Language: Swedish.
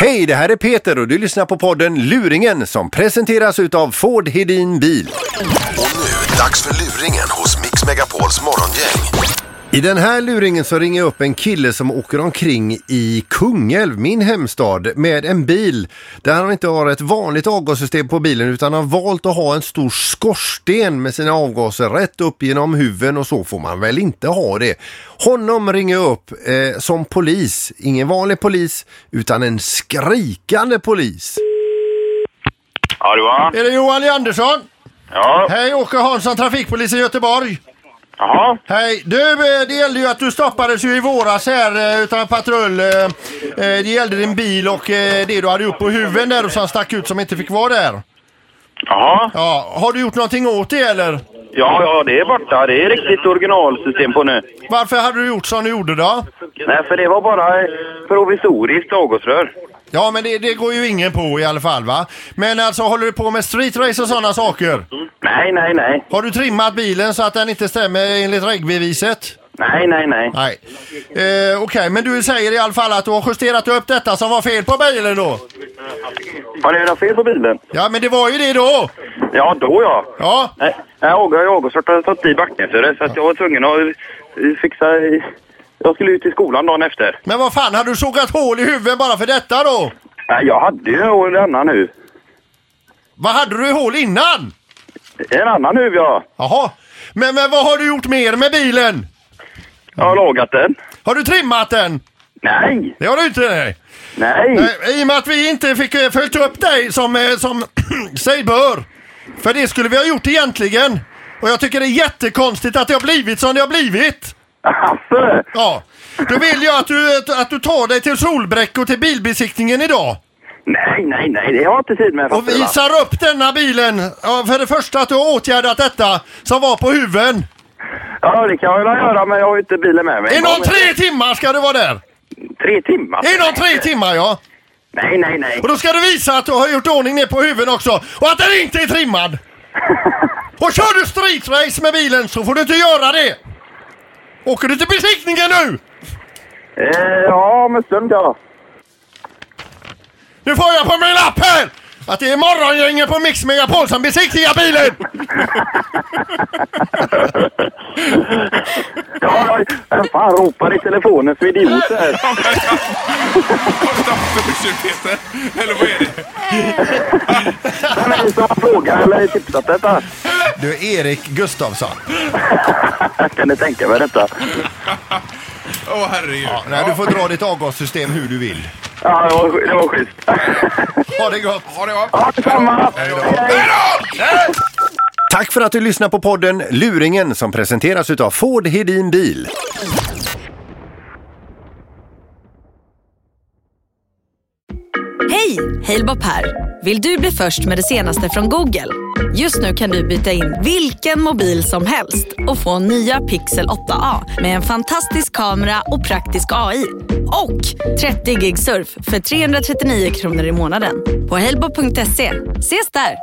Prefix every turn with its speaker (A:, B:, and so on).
A: Hej, det här är Peter och du lyssnar på podden Luringen som presenteras utav Ford Hedin Bil.
B: Och nu, dags för luringen hos Mix Megapols morgongäng.
A: I den här luringen så ringer jag upp en kille som åker omkring i Kungälv, min hemstad, med en bil där han inte har ett vanligt avgassystem på bilen utan har valt att ha en stor skorsten med sina avgaser rätt upp genom huven och så får man väl inte ha det. Honom ringer jag upp eh, som polis, ingen vanlig polis utan en skrikande polis.
C: Ja, det var
A: Är det Johan Lee Andersson?
C: Ja.
A: Hej, Åke Hansson, trafikpolis i Göteborg.
C: Jaha.
A: Hej! Du, eh, det gällde ju att du stoppades ju i våras här eh, utan patrull. eh, eh, Det gällde din bil och eh, det du hade upp på huven där och som stack ut som inte fick vara där.
C: Jaha.
A: Ja, har du gjort någonting åt det eller?
C: Ja, ja, det är borta. Det är riktigt originalsystem på nu.
A: Varför hade du gjort som du gjorde då?
C: Nej, för det var bara eh, provisoriskt avgasrör.
A: Ja, men det, det går ju ingen på i alla fall va? Men alltså håller du på med streetrace och sådana saker?
C: Nej, nej, nej.
A: Har du trimmat bilen så att den inte stämmer enligt regelbeviset?
C: Nej, nej, nej.
A: Nej. Eh, Okej, men du säger i alla fall att du har justerat upp detta som var fel på bilen då?
C: Har ni något fel på bilen?
A: Ja, men det var ju det då!
C: Ja, då ja.
A: Ja,
C: Nej, nej avgas- avgasröret hade tagit i backen för det, så att jag var tvungen att eh, fixa... eh, Jag skulle ut till skolan dagen efter.
A: Men vad fan, hade du sågat hål i huvudet bara för detta då?
C: Nej, jag hade ju en annan nu.
A: Vad hade du i hål innan?
C: En annan nu, ja.
A: Jaha. Men, men vad har du gjort mer med bilen?
C: Jag har lagat den.
A: Har du trimmat den?
C: Nej,
A: Det har du inte. Nej.
C: nej.
A: Eh, I och med att vi inte fick eh, följt upp dig som, eh, som sig bör. För det skulle vi ha gjort egentligen. Och jag tycker det är jättekonstigt att det har blivit som det har blivit.
C: Hasse!
A: Ja. Då vill jag att du, eh, att du tar dig till Solbräck och till bilbesiktningen idag.
C: Nej, nej, nej, det har jag inte tid med.
A: Och
C: fattar du, va?
A: visar upp denna bilen. Ja, för det första att du har åtgärdat detta som var på huven.
C: Ja, det kan jag väl göra, men jag har ju inte bilen med mig.
A: Inom tre timmar ska du vara där!
C: Tre timmar?
A: Inom tre timmar ja!
C: Nej, nej, nej.
A: Och då ska du visa att du har gjort ordning ner på huven också och att den inte är trimmad! Och kör du streetrace med bilen så får du inte göra det! Åker du till besiktningen nu?
C: Eh, ja, om en stund ja.
A: Nu får jag på min lapp här! Att det är morgongänget på Mix Megapol som besiktigar bilen!
C: ja ja, vem fan ropar i telefonen för idiot här?
D: Första försök Peter, eller vad är det?
C: Vem är det som har frågat eller tipsat detta?
A: Du Erik Gustafsson.
C: Kan ni tänka mig detta?
D: Åh herregud. Ja,
A: Nej, du får dra ditt avgassystem hur du vill.
C: Ja, det var, det var schysst.
A: Ha det gott!
D: Ha det gott.
C: Ja, detsamma!
A: Tack för att du lyssnar på podden Luringen som presenteras utav Ford Hedin Bil.
E: Hej! Halebop här. Vill du bli först med det senaste från Google? Just nu kan du byta in vilken mobil som helst och få nya Pixel 8A med en fantastisk kamera och praktisk AI. Och 30 gig surf för 339 kronor i månaden på halebop.se. Ses där!